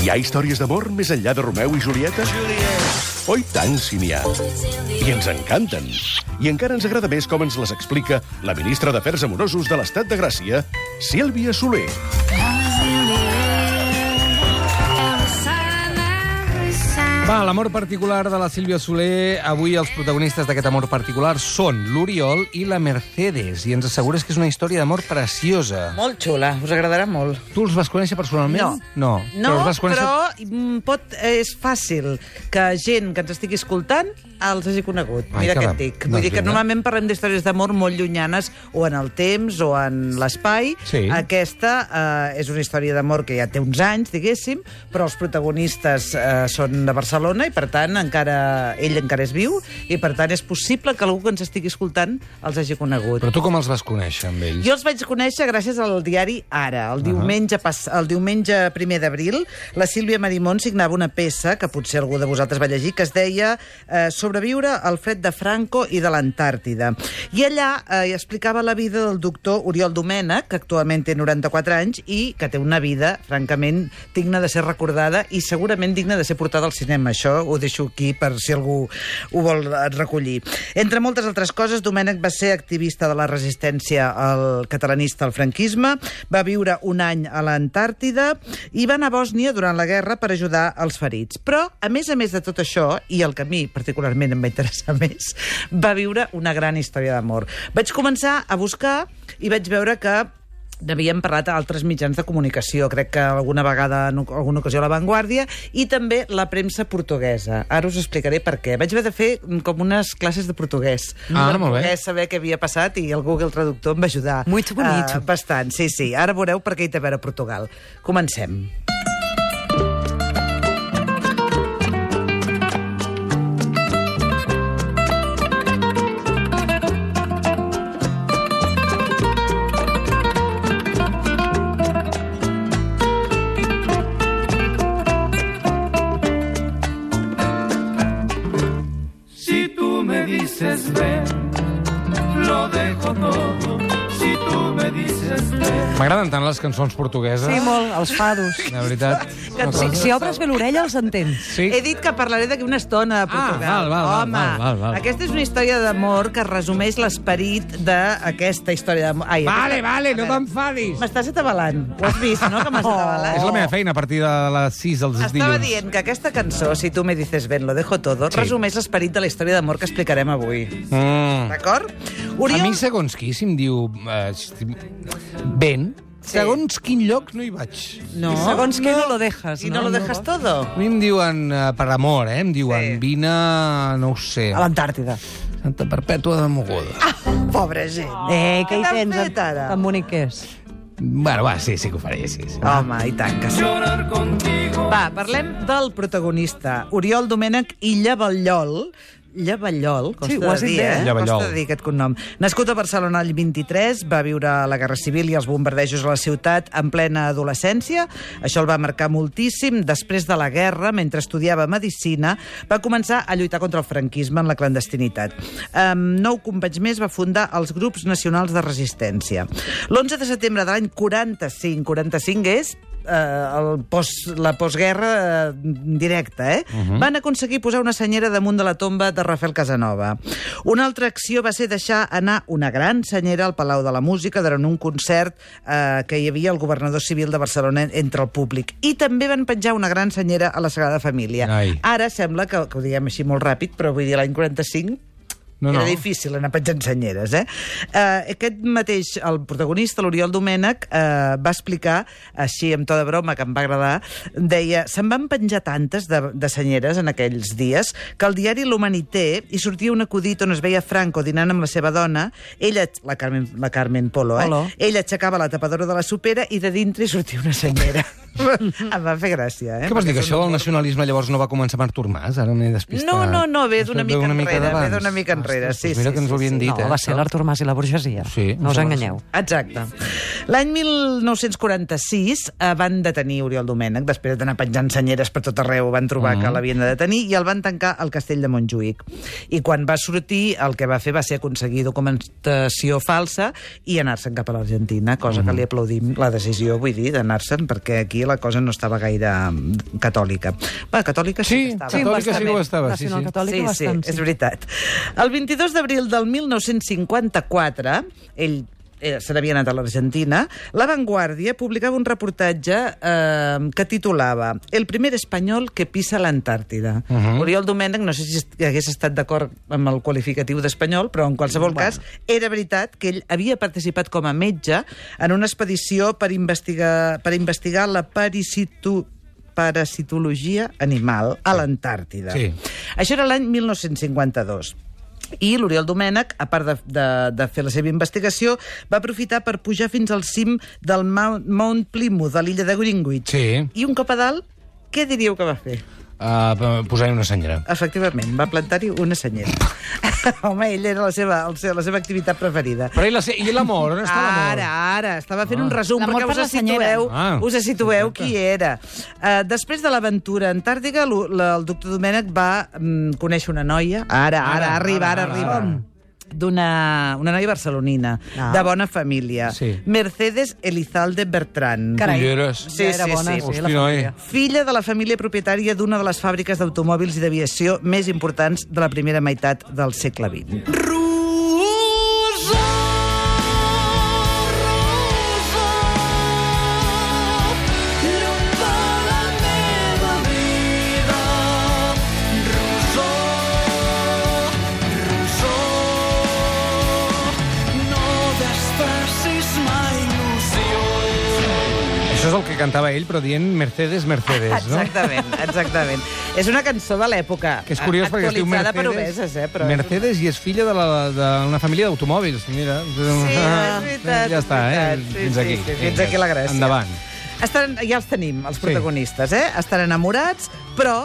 Hi ha històries d'amor més enllà de Romeu i Julieta? Julieta. Oi tant, si n'hi ha. I ens encanten. I encara ens agrada més com ens les explica la ministra d'Afers Amorosos de l'Estat de Gràcia, Sílvia Soler. Va, l'amor particular de la Sílvia Soler. Avui els protagonistes d'aquest amor particular són l'Oriol i la Mercedes. I ens assegures que és una història d'amor preciosa. Molt xula, us agradarà molt. Tu els vas conèixer personalment? No. No, No, però els però, vas conèixer... mm, pot, és fàcil que gent que ens estigui escoltant els hagi conegut. Ai, Mira què caram. et dic. Doncs Vull dir que vinga. normalment parlem d'històries d'amor molt llunyanes o en el temps o en l'espai. Sí. Aquesta eh, és una història d'amor que ja té uns anys, diguéssim, però els protagonistes eh, són de Barcelona i, per tant, encara ell encara és viu i, per tant, és possible que algú que ens estigui escoltant els hagi conegut. Però tu com els vas conèixer, amb ells? Jo els vaig conèixer gràcies al diari Ara. El diumenge, pas... el diumenge primer d'abril, la Sílvia Marimón signava una peça, que potser algú de vosaltres va llegir, que es deia eh, Sobreviure al fred de Franco i de l'Antàrtida. I allà eh, hi explicava la vida del doctor Oriol Domènech, que actualment té 94 anys i que té una vida, francament, digna de ser recordada i segurament digna de ser portada al cinema. Això ho deixo aquí per si algú ho vol eh, recollir. Entre moltes altres coses, Domènec va ser activista de la resistència al catalanista al franquisme, va viure un any a l'Antàrtida i va anar a Bòsnia durant la guerra per ajudar els ferits. Però, a més a més de tot això, i el que a mi particularment em va interessar més, va viure una gran història d'amor. Vaig començar a buscar i vaig veure que n'havíem parlat a altres mitjans de comunicació, crec que alguna vegada, en alguna ocasió a La Vanguardia, i també la premsa portuguesa. Ara us explicaré per què. Vaig haver de fer mm, com unes classes de portuguès. Ah, de molt bé. Portuguès, saber què havia passat i el Google Traductor em va ajudar. Muito bonito. eh, bastant, sí, sí. Ara veureu per què hi té a veure Portugal. Comencem. Si tú me dices ven, lo dejo todo. Si tú me dices ven, M'agraden tant les cançons portugueses. Sí, molt, els fados. La veritat. una Si, cosa- si obres bé l'orella, els entens. Sí? Ah, He dit que parlaré d'aquí una estona a Portugal. val, val, val, Home, val, val, val. aquesta és una història d'amor que resumeix l'esperit d'aquesta història d'amor. Ai, Vale, aquesta- vale, A no veure, t'enfadis. M'estàs atabalant. Ho has vist, no, que m'has Oh. atabalat? És la meva feina a partir de les 6 dels Estava dilluns. dient que aquesta cançó, Si tu me dices ven, lo dejo todo, Sí. sí. resumeix l'esperit de la història d'amor que explicarem avui. Mm. D'acord? A Oriol... mi, segons qui, si em diu... Eh, si... Ben, Sí. segons quin lloc no hi vaig. No. I segons què no lo dejas, I no? no, lo dejas todo. A mi em diuen, eh, per amor, eh? Em diuen, sí. Sí. vine, no ho sé, A l'Antàrtida. Santa Perpètua de Mogoda. Ah. Pobra gent. Eh, què hi Oh, t'han tens? fet, ara? Tan bonic que és. Bueno, va, sí, sí que ho faré, sí. sí. Home, i tant que sí. llorar contigo. Va, parlem del protagonista, Oriol Domènech i Llavallol, Llavallol, costa Sí, ho de has dit dir, bé, eh? eh? Llavallol. Costa de dir aquest cognom. Nascut a Barcelona el 23, va viure la Guerra Civil i els bombardejos a la ciutat en plena adolescència. Això el va marcar moltíssim. Després de la guerra, mentre estudiava Medicina, va començar a lluitar contra el franquisme en la clandestinitat. Amb nou companys més va fundar els grups nacionals de resistència. L'11 de setembre de l'any 45, 45 és eh, el post, la postguerra eh, directa, eh? Uh -huh. Van aconseguir posar una senyera damunt de la tomba de Rafael Casanova. Una altra acció va ser deixar anar una gran senyera al Palau de la Música durant un concert eh, que hi havia el governador civil de Barcelona entre el públic. I també van penjar una gran senyera a la Sagrada Família. Ai. Ara sembla que, que ho diguem així molt ràpid, però vull dir l'any 45 No, no, no. Era difícil anar penjant senyeres, eh? eh aquest mateix, el protagonista, l'Oriol Domènech, eh, va explicar, així amb to de broma, que em va agradar, deia, se'n van penjar tantes de, de senyeres en aquells dies que al diari L'Humanité hi sortia un acudit on es veia Franco dinant amb la seva dona, ella, la Carmen, la Carmen Polo, eh? Polo. Ell aixecava la tapadora de la supera i de dintre hi sortia una senyera. em va fer gràcia, eh? Què vols dir, que Perquè és un això del humor- nacionalisme llavors no va començar amb Artur Mas? Ara m'he despistat. no, no, no, ve d'una Ve mica enrere, ve d'abans. d'una mica Ah, carrera. Sí, Pues mira sí, que ens ho sí, sí. havien dit, eh? No, va ser això. l'Artur Mas i la burgesia. Sí, no us em sembla que enganyeu. Exacte. L'any 1946 eh, van detenir Oriol Domènech, després d'anar penjant senyeres per tot arreu, van trobar que l'havien de detenir i el van tancar al castell de Montjuïc. I quan va sortir, el que va fer va ser aconseguir documentació falsa i anar-se'n cap a l'Argentina, cosa que li aplaudim la decisió, vull dir, d'anar-se'n, perquè aquí la cosa no estava gaire mm, catòlica. Va, catòlica sí, que estava. Sí, Catòlica sí que ho estava, sí, sí. Nacionalcatòlica Sí, sí, bastant, és veritat. El 22 d'abril del 1954, ell eh, se n'havia anat a l'Argentina, La Vanguardia publicava un reportatge eh, que titulava El primer espanyol que pisa l'Antàrtida. Uh -huh. Oriol Domènech, no sé si est- hagués estat d'acord amb el qualificatiu d'espanyol, però en qualsevol bueno. cas era veritat que ell havia participat com a metge en una expedició per investigar, per investigar la parasitu, parasitologia animal a l'Antàrtida. Sí. Això era l'any 1952. I l'Oriol Domènech, a part de, de, de fer la seva investigació, va aprofitar per pujar fins al cim del Mount, Mount Plymouth, de l'illa de Greenwich. Sí. I un cop a dalt, què diríeu que va fer? Uh, Posar-hi una senyera. Efectivament, va plantar-hi una senyera. Home, ella era la seva, el seu, la seva activitat preferida. Però i la se- i l'amor? On està l'amor? Ara, ara, estava fent un resum L'amor perquè per us la senyera. situeu, Ah. us situeu qui era. Uh, després de l'aventura a antàrtica, lo- la- el doctor Domènech va mm, conèixer una noia, ara, ara, Ara, ara arriba, ara, ara, arriba, ara. d'una una noia barcelonina, Ah. de bona família, Sí. Mercedes Elizalde Bertran. Carai. Culleres. Sí, Ja era sí, bona, sí. sí, Hosti, la família. noi. Filla de la família propietària d'una de les fàbriques d'automòbils i d'aviació més importants de la primera meitat del segle XX. Això és el que cantava ell, però dient Mercedes, Mercedes, no? Exactament, exactament. és una cançó de l'època. Que és curiós perquè es diu actualitzada Mercedes... per obeses, eh? Però Mercedes i és filla de la- d'una família d'automòbils, mira. Sí, és veritat, Ah, és Ja està, eh? veritat. Sí, Fins sí, aquí. sí, fins aquí la gràcia. Endavant. Estan, ja els tenim, els Sí. protagonistes, eh? Estan enamorats, però,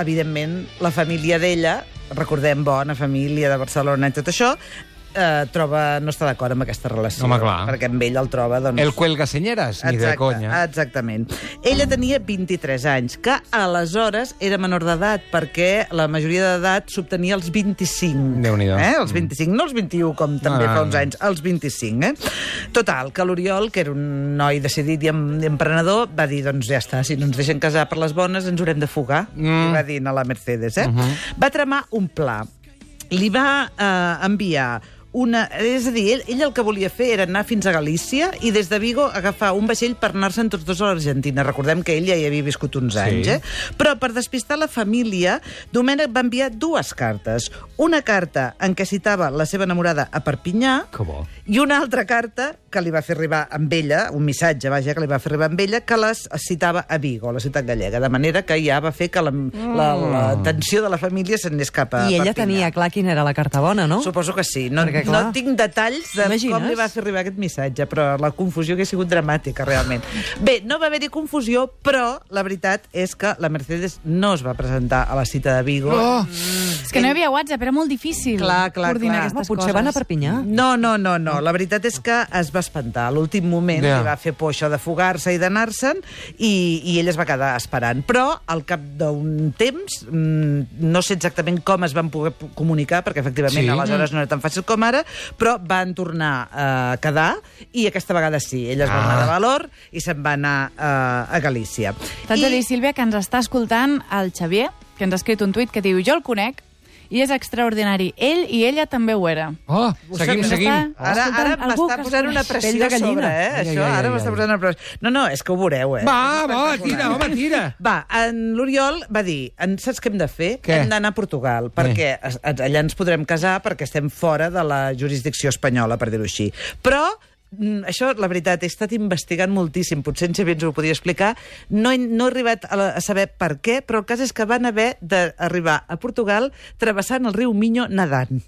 evidentment, la família d'ella, recordem, bona família de Barcelona i tot això, eh, troba, no està d'acord amb aquesta relació. Home, clar. Perquè amb ell el troba, doncs... El cuelga senyeres, ni de conya. Ah, Exactament. Ella tenia 23 anys, que aleshores era menor d'edat, perquè la majoria d'edat s'obtenia als 25. Déu-n'hi-do. eh? Els 25, no els 21, com també No, no, fa uns no. anys, els 25. Eh? Total, que l'Oriol, que era un noi decidit i em- i emprenedor, va dir, doncs ja està, si no ens deixen casar per les bones, ens haurem de fugar. Mm. I va dir a la Mercedes. Eh? Va tramar un pla. Li va eh, enviar una... És a dir, ell, ell el que volia fer era anar fins a Galícia i des de Vigo agafar un vaixell per anar-se'n tots dos a l'Argentina. Recordem que ell ja hi havia viscut uns anys, eh? Però per despistar la família, Domènec va enviar dues cartes. Una carta en què citava la seva enamorada a Perpinyà Que bo. i una altra carta que li va fer arribar amb ella, un missatge, vaja, que li va fer arribar amb ella, que les citava a Vigo, a la ciutat gallega, de manera que ja va fer que la, la, la Mm. tensió de la família se'n anés cap a I ella Perpinyà. tenia clar quina era la carta bona, no? Suposo que sí. No, Perquè, clar, no tinc detalls de t'imagines? com li va fer arribar aquest missatge, però la confusió que ha sigut dramàtica, realment. Bé, no va haver-hi confusió, però la veritat és que la Mercedes no es va presentar a la cita de Vigo. Mm. Oh! És que no hi havia WhatsApp, era molt difícil Clar, clar, clar. coordinar Home, aquestes potser coses. va anar a Perpinyà. No, no, no, no. La veritat és que es va espantar. A l'últim moment Ja. yeah. li va fer por això de fugar-se i d'anar-se'n i, i ell es va quedar esperant. Però al cap d'un temps, mm, no sé exactament com es van poder pu- comunicar, perquè efectivament Sí. sí. aleshores no era tan fàcil com ara, però van tornar eh, a quedar i aquesta vegada sí. Ell es va Ah. anar de valor i se'n va anar eh, a Galícia. T'haig de I- dir, Sílvia, que ens està escoltant el Xavier, que ens ha escrit un tuit que diu jo el conec i és extraordinari. Ell i ella també ho era. Oh, seguim, Ens seguim. està Ara, ara escoltant algú m'està que es posant una coneix. pressió Pell de gallina. sobre, eh? Ai, ai, Això, ai, ara ai, m'està ai. posant una pressió. No, no, és que ho veureu, eh? Va, va, tira, home, tira. Va, en l'Oriol va dir, en, saps què hem de fer? Què? Hem d'anar a Portugal, perquè es- es- allà ens podrem casar perquè estem fora de la jurisdicció espanyola, per dir-ho així. Però mm, això, la veritat, he estat investigant moltíssim, potser en Xavier ens ho podria explicar, no he, no he arribat a, la, a saber per què, però el cas és que van haver d'arribar a Portugal travessant el riu Minho nedant.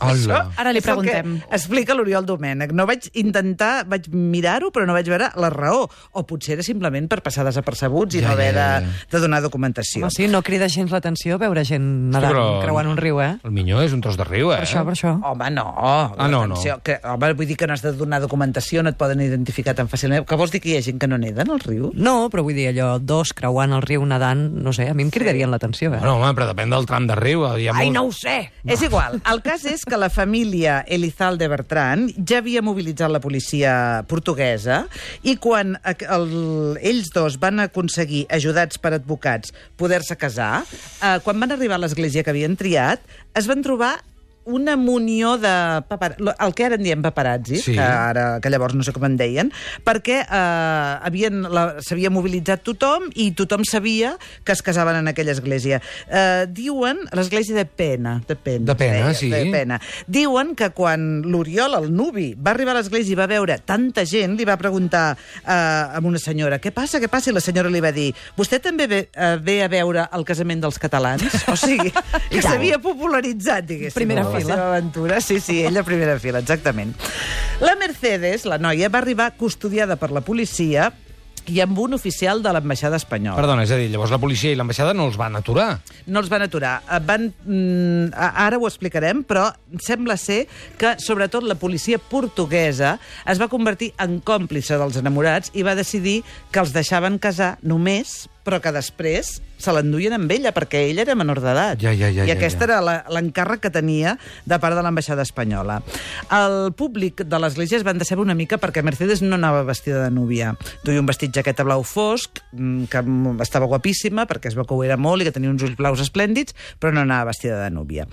Hola. Ara li és el preguntem. Que explica l'Oriol Domènech. No vaig intentar, vaig mirar-ho, però no vaig veure la raó. O potser era simplement per passar desapercebuts i Ja, no haver ja, ja, de, de donar documentació. Home, sí, no crida gens l'atenció veure gent nedant, Però- creuant un riu, eh? El minyó és un tros de riu, eh? Per això, per això. Home, no. Ah, no, no. Atenció, Que, home, vull dir que no has de donar documentació, no et poden identificar tan fàcilment. Que vols dir que hi ha gent que no neda en el riu? No, però vull dir allò, dos creuant el riu nedant, no sé, a mi em cridarien l'atenció, eh? Bueno, home, però depèn del tram de riu. Hi ha Ai, molt- no ho sé! És igual. El cas és que la família Elizalde Bertran ja havia mobilitzat la policia portuguesa i quan ac- el, ells dos van aconseguir, ajudats per advocats, poder-se casar, eh, quan van arribar a l'església que havien triat, es van trobar una munió de... papar- lo- El que ara en diem paparazzi, Sí. sí. que, ara, que llavors no sé com en deien, perquè eh, havien la- s'havia mobilitzat tothom i tothom sabia que es casaven en aquella església. Eh, diuen, l'església de Pena, de Pena, De Pena, deia, sí. De Pena. Diuen que quan l'Oriol, el nuvi, va arribar a l'església i va veure tanta gent, li va preguntar eh, a una senyora, què passa, què passa? I la senyora li va dir, vostè també ve, eh, ve a veure el casament dels catalans? O sigui, que s'havia popularitzat, diguéssim. Primera la fila. seva aventura. Sí, sí, ella a primera fila, exactament. La Mercedes, la noia, va arribar custodiada per la policia i amb un oficial de l'ambaixada espanyola. Perdona, és a dir, llavors la policia i l'ambaixada no els van aturar. no els van aturar. Eh, Van, mm, a- ara ho explicarem, però sembla ser que, sobretot, la policia portuguesa es va convertir en còmplice dels enamorats i va decidir que els deixaven casar només però que després se l'enduien amb ella, perquè ella era menor d'edat. Ja, ja, ja, I ja, aquesta ja. era la- l'encàrrec que tenia de part de l'ambaixada espanyola. El públic de l'església es van decebre una mica perquè Mercedes no anava vestida de núvia. Duia un vestit jaqueta blau fosc, mm, que mm, estava guapíssima perquè es va que ho era molt i que tenia uns ulls blaus esplèndids, però no anava vestida de núvia.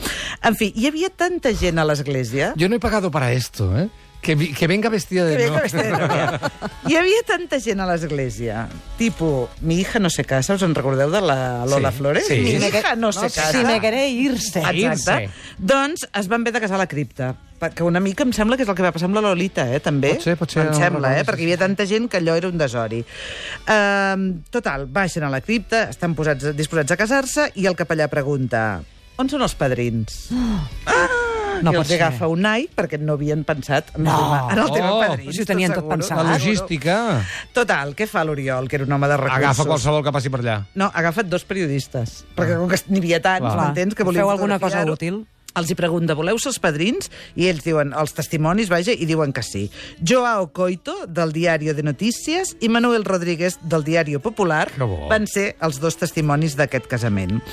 En fi, hi havia tanta gent a l'església... Yo no he pagado para esto, ¿eh? Que, vi- que venga vestida de... Que bé que no. vestida de núvia. Hi havia tanta gent a l'esglesia, tipo, mi hija no se casa, us en recordeu de la Lola Sí, Flores? sí. Mi Si me hija no se casa. Si me queré irse. Exacte. Doncs es van haver de casar a la cripta, que una mica em sembla que és el que va passar amb la Lolita, eh, també. Pot ser, pot ser, Em no sembla, recordo, eh, sí, perquè hi havia tanta gent que allò era un desori. Um, total, baixen a la cripta, estan posats, disposats a casar-se, i el capellà pregunta on són els padrins? Ah, No I pot els ser. agafa un ai perquè no havien pensat en, No. el tema- en el tema Oh, padrins. si ho tenien t'ho tot asseguro. pensat. La logística Ah, Total, què fa l'Oriol, que era un home de recursos? agafa qualsevol que passi per allà. No, agafa't dos periodistes. Perquè com que n'hi havia tants, Clar. m'entens? Que Ah. Feu volien alguna cosa fotografiar-ho. útil? Els hi pregunta, voleu ser els padrins? I ells diuen, els testimonis, vaja, i diuen que sí. Joao Coito, del Diario de Notícies, i Manuel Rodríguez, del Diario Popular, Que bo. van ser els dos testimonis d'aquest casament.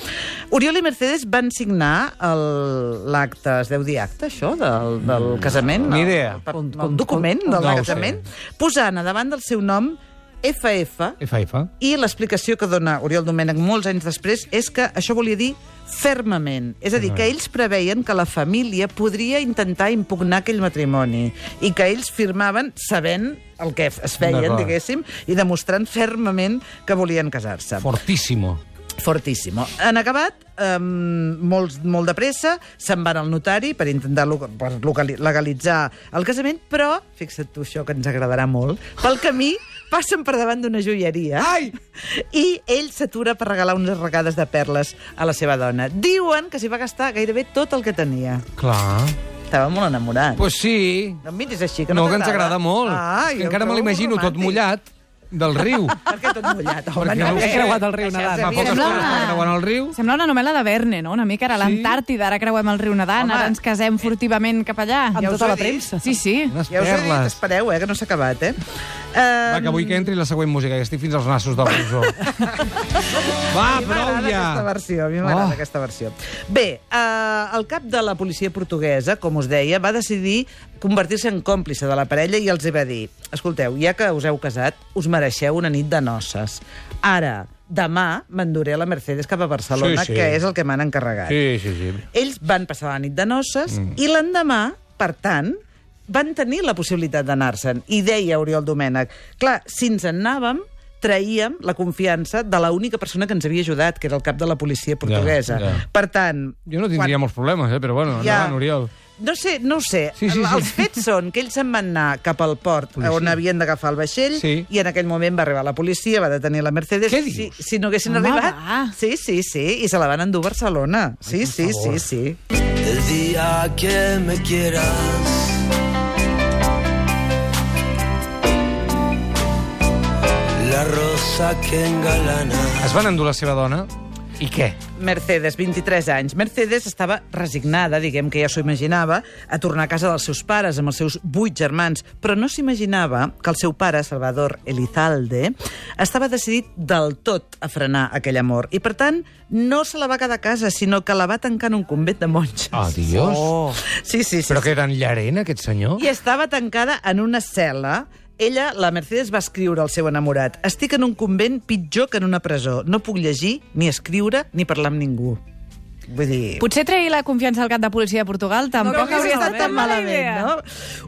Oriol i Mercedes van signar el- l'acte, es deu dir acte, això, del, del casament? Mm, Ni El- idea. El, el, Com- el document com- del No ho sé. casament, posant a davant del seu nom FF, Efa, efa. i l'explicació que dona Oriol Domènech molts anys després és que això volia dir fermament. És a dir, que ells preveien que la família podria intentar impugnar aquell matrimoni i que ells firmaven sabent el que es feien, D'acord. diguéssim, i demostrant fermament que volien casar-se. Fortíssimo. Fortíssimo. Han acabat, um, molt, molt de pressa, se'n van al notari per intentar lo- per locali- legalitzar el casament, però, fixa't tu això que ens agradarà molt, pel camí passen per davant d'una joieria Ai! i ell s'atura per regalar unes regades de perles a la seva dona. Diuen que s'hi va gastar gairebé tot el que tenia. Clar. Estava molt enamorat. Pues sí. No em miris així, que Que no, no, que ens agrada molt. Ah, que encara me l'imagino tot mullat del riu. Per què tot mullat? Home, Perquè no, no- eh? he creuat el riu Això nedant. és Fa poca evident. estona que creuant el riu. Sembla una novel·la de Verne, no? Una mica era l'Antàrtida, ara creuem el riu nedant, Home. eh, ara ens casem furtivament cap allà. Amb Ja us tota ho he la dit. premsa. Sí, sí. Unes Ja us he dit, perles. espereu, eh, que no s'ha acabat, eh? Va, Uh, que vull que entri la següent música, que estic fins als nassos del visor. Va, prou aquesta ja! versió, a mi m'agrada Oh. aquesta versió. Bé, eh, el cap de la policia portuguesa, com us deia, va decidir convertir-se en còmplice de la parella i els hi va dir, escolteu, ja que us heu casat, us mereixeu una nit de noces. Ara, demà, m'enduré la Mercedes cap a Barcelona, Sí, sí. que és el que m'han encarregat. Sí, sí, sí. Ells van passar la nit de noces mm. i l'endemà, per tant, van tenir la possibilitat d'anar-se'n. I deia Oriol Domènech, clar, si ens en anàvem, traïem la confiança de l'única persona que ens havia ajudat, que era el cap de la policia portuguesa. ja. Per tant... Jo no tindria molts problemes, eh? però bueno, ja. endavant, Oriol. No sé, no ho sé. Sí, sí, sí. Els fets són que ells se'n van anar cap al port Policia. on havien d'agafar el vaixell Sí. i en aquell moment va arribar la policia, va detenir la Mercedes. Què si, dius? si no haguessin Home, arribat... va. Sí, sí, sí, i se la van endur a Barcelona. Sí, sí, sí, favor. sí. The el día que me quieras. La rosa que engalana. Es van endur la seva dona? I què? Mercedes, 23 anys. Mercedes estava resignada, diguem que ja s'ho imaginava, a tornar a casa dels seus pares amb els seus vuit germans, però no s'imaginava que el seu pare, Salvador Elizalde, estava decidit del tot a frenar aquell amor. I, per tant, no se la va quedar a casa, sinó que la va tancar en un convent de monges. Ah, dios. Oh. Sí, sí, sí. Però sí. que era en Llarena, aquest senyor? I estava tancada en una cel·la. Ella, la Mercedes, va escriure al seu enamorat. Estic en un convent pitjor que en una presó. No puc llegir, ni escriure, ni parlar amb ningú. Vull dir... Potser trair la confiança al cap de policia de Portugal tampoc Tampoc hauria estat tan malament, idea. no?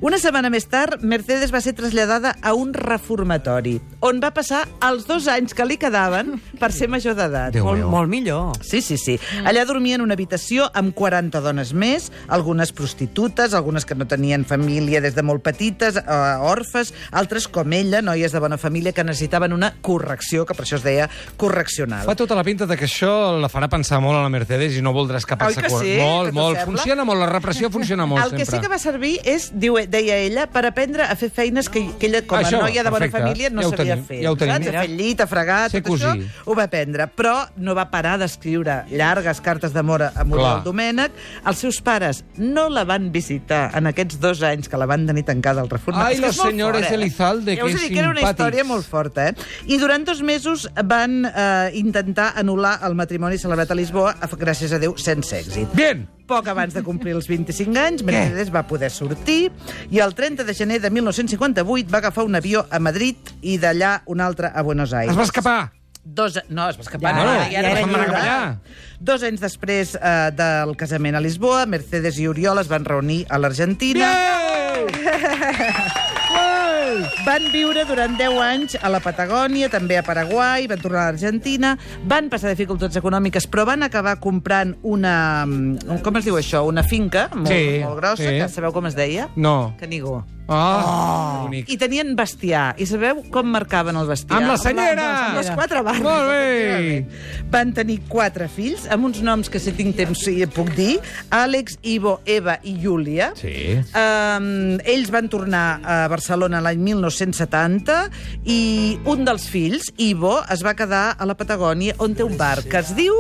Una setmana més tard, Mercedes va ser traslladada a un reformatori, on va passar els dos anys que li quedaven per ser major d'edat. Déu Molt, meu. molt millor. Sí, sí, sí. Allà dormia en una habitació amb 40 dones més, algunes prostitutes, algunes que no tenien família des de molt petites, eh, orfes, altres com ella, noies de bona família que necessitaven una correcció, que per això es deia correccional. Fa tota la pinta de que això la farà pensar molt a la Mercedes i no voldrà escapar-se. Oi que cor- sí? Molt, Que t'ho molt. sembla? Funciona molt, la repressió funciona molt el que sempre. sí que va servir és, diu, deia ella, per aprendre a fer feines que, que ella, com a Això, noia de bona perfecte. família, no Ja ho sabia tenim, fer. ja ho tenim. saps? A fer llit, a fregar, Sé tot això, cosir. ho va aprendre. Però no va parar d'escriure llargues cartes d'amor a Muriel Clar. Domènech. Els seus pares no la van visitar en aquests dos anys que la van tenir tancada al reformat. Ai, És que los és molt señores fort, eh? Elizalde, ja us que he dit que era una simpàtics. història molt forta, eh? I durant dos mesos van eh, intentar anul·lar el matrimoni celebrat a Lisboa, a- gràcies a Déu, sense èxit. Bien! Poc abans de complir els 25 anys, Mercedes va poder sortir i el 30 de gener de 1958 va agafar un avió a Madrid i d'allà un altre a Buenos Aires. Es va escapar! Dos... No, es va escapar. Ja, no, ara- ja ara era va lliure. lliure. Dos anys després eh, del casament a Lisboa, Mercedes i Oriol es van reunir a l'Argentina. Van viure durant 10 anys a la Patagònia, també a Paraguai, van tornar a l'Argentina, van passar dificultats econòmiques, però van acabar comprant una... mm, com es diu això? Una finca molt, Sí, molt grossa, sí. que sabeu com es deia? No. Canigó. Ah, oh. bonic. I tenien bestiar. I sabeu com marcaven el bestiar? Amb la Amb, senyera! la- amb les quatre barres. Molt bé! efectivament. Van tenir quatre fills, amb uns noms que si tinc temps sí, puc dir. Àlex, Ivo, Eva i Júlia. Sí. Um, ells van tornar a Barcelona l'any 1970 i un dels fills, Ivo, es va quedar a la Patagònia on té un bar que es diu...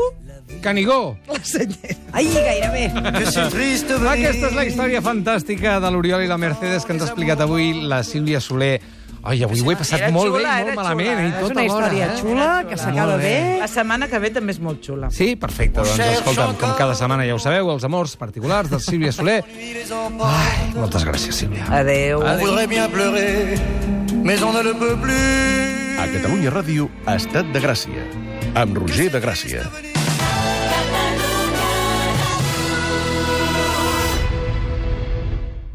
Canigó! La senyera. Ai, gairebé. Aquesta és la història fantàstica de l'Oriol i la Mercedes que ens ha explicat avui la Sílvia Soler. Ai, avui ho he passat Era molt bé xula, i era molt malament. xula, eh? i tot És una alhora, història eh? xula, que s'acaba Molt bé. bé. La setmana que ve també és molt xula. Sí, perfecte. Doncs, escolta'm, com cada setmana ja ho sabeu, els amors particulars de Sílvia Soler. Ai, moltes gràcies, Sílvia. Adeu. On voudrait bien pleurer, mais on ne le peut plus. A Catalunya Ràdio, Estat de Gràcia, amb Roger de Gràcia.